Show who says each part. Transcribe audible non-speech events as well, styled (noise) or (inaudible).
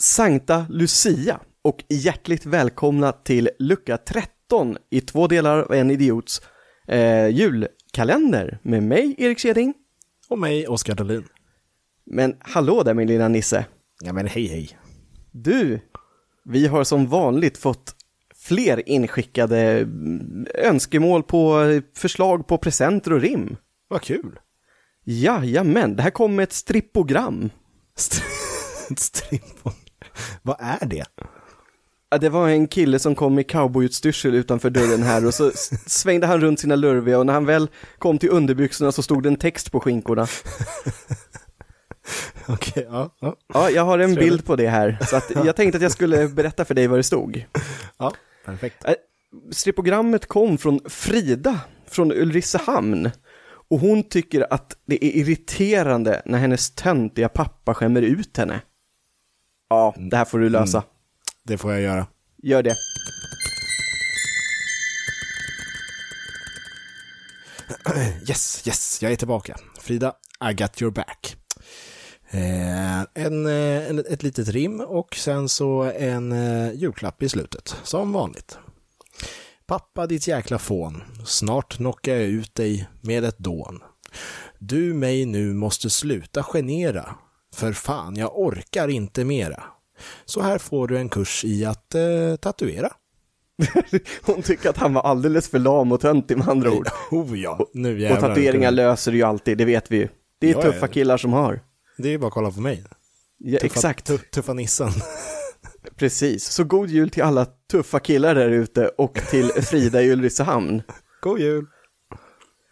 Speaker 1: Sankta Lucia och hjärtligt välkomna till lucka 13 i två delar av en idiots eh, julkalender med mig, Erik Keding.
Speaker 2: Och mig, Oskar Dahlin.
Speaker 1: Men hallå där min lilla Nisse.
Speaker 2: Ja men hej hej.
Speaker 1: Du, vi har som vanligt fått fler inskickade mm, önskemål på eh, förslag på presenter och rim.
Speaker 2: Vad kul.
Speaker 1: Jajamän, det här kommer ett strippogram.
Speaker 2: St- (laughs) Strimpon. Vad är det?
Speaker 1: Ja, det var en kille som kom i cowboyutstyrsel utanför dörren här och så s- svängde han runt sina lurviga och när han väl kom till underbyxorna så stod det en text på skinkorna.
Speaker 2: Okej, ja, ja.
Speaker 1: Ja, jag har en bild på det här, så att jag tänkte att jag skulle berätta för dig vad det stod.
Speaker 2: ja. Perfekt.
Speaker 1: Eh, Stripogrammet kom från Frida från Ulricehamn och hon tycker att det är irriterande när hennes töntiga pappa skämmer ut henne. Ja, det här får du lösa.
Speaker 2: Det får jag göra.
Speaker 1: Gör det. (laughs)
Speaker 2: Yes, yes, jag är tillbaka. Frida, I got your back. Eh, en, eh, en, ett litet rim och sen så en eh, julklapp i slutet, som vanligt. Pappa ditt jäkla fån, snart knockar jag ut dig med ett dån. Du mig nu måste sluta genera, för fan jag orkar inte mera. Så här får du en kurs i att eh, tatuera.
Speaker 1: Hon tycker att han var alldeles för lam och töntig med andra ord.
Speaker 2: Oh ja, nu
Speaker 1: Och tatueringar löser ju alltid, det vet vi ju. Det är
Speaker 2: Ja, ja,
Speaker 1: tuffa
Speaker 2: ja.
Speaker 1: killar som har.
Speaker 2: Det är ju bara att kolla på mig.
Speaker 1: Ja,
Speaker 2: Tuffa-
Speaker 1: exakt,
Speaker 2: tu- Tuffa nissen.
Speaker 1: precis. Så
Speaker 2: (laughs)
Speaker 1: god jul till alla tuffa killar där ute och till Frida i Ulricehamn.
Speaker 2: God jul!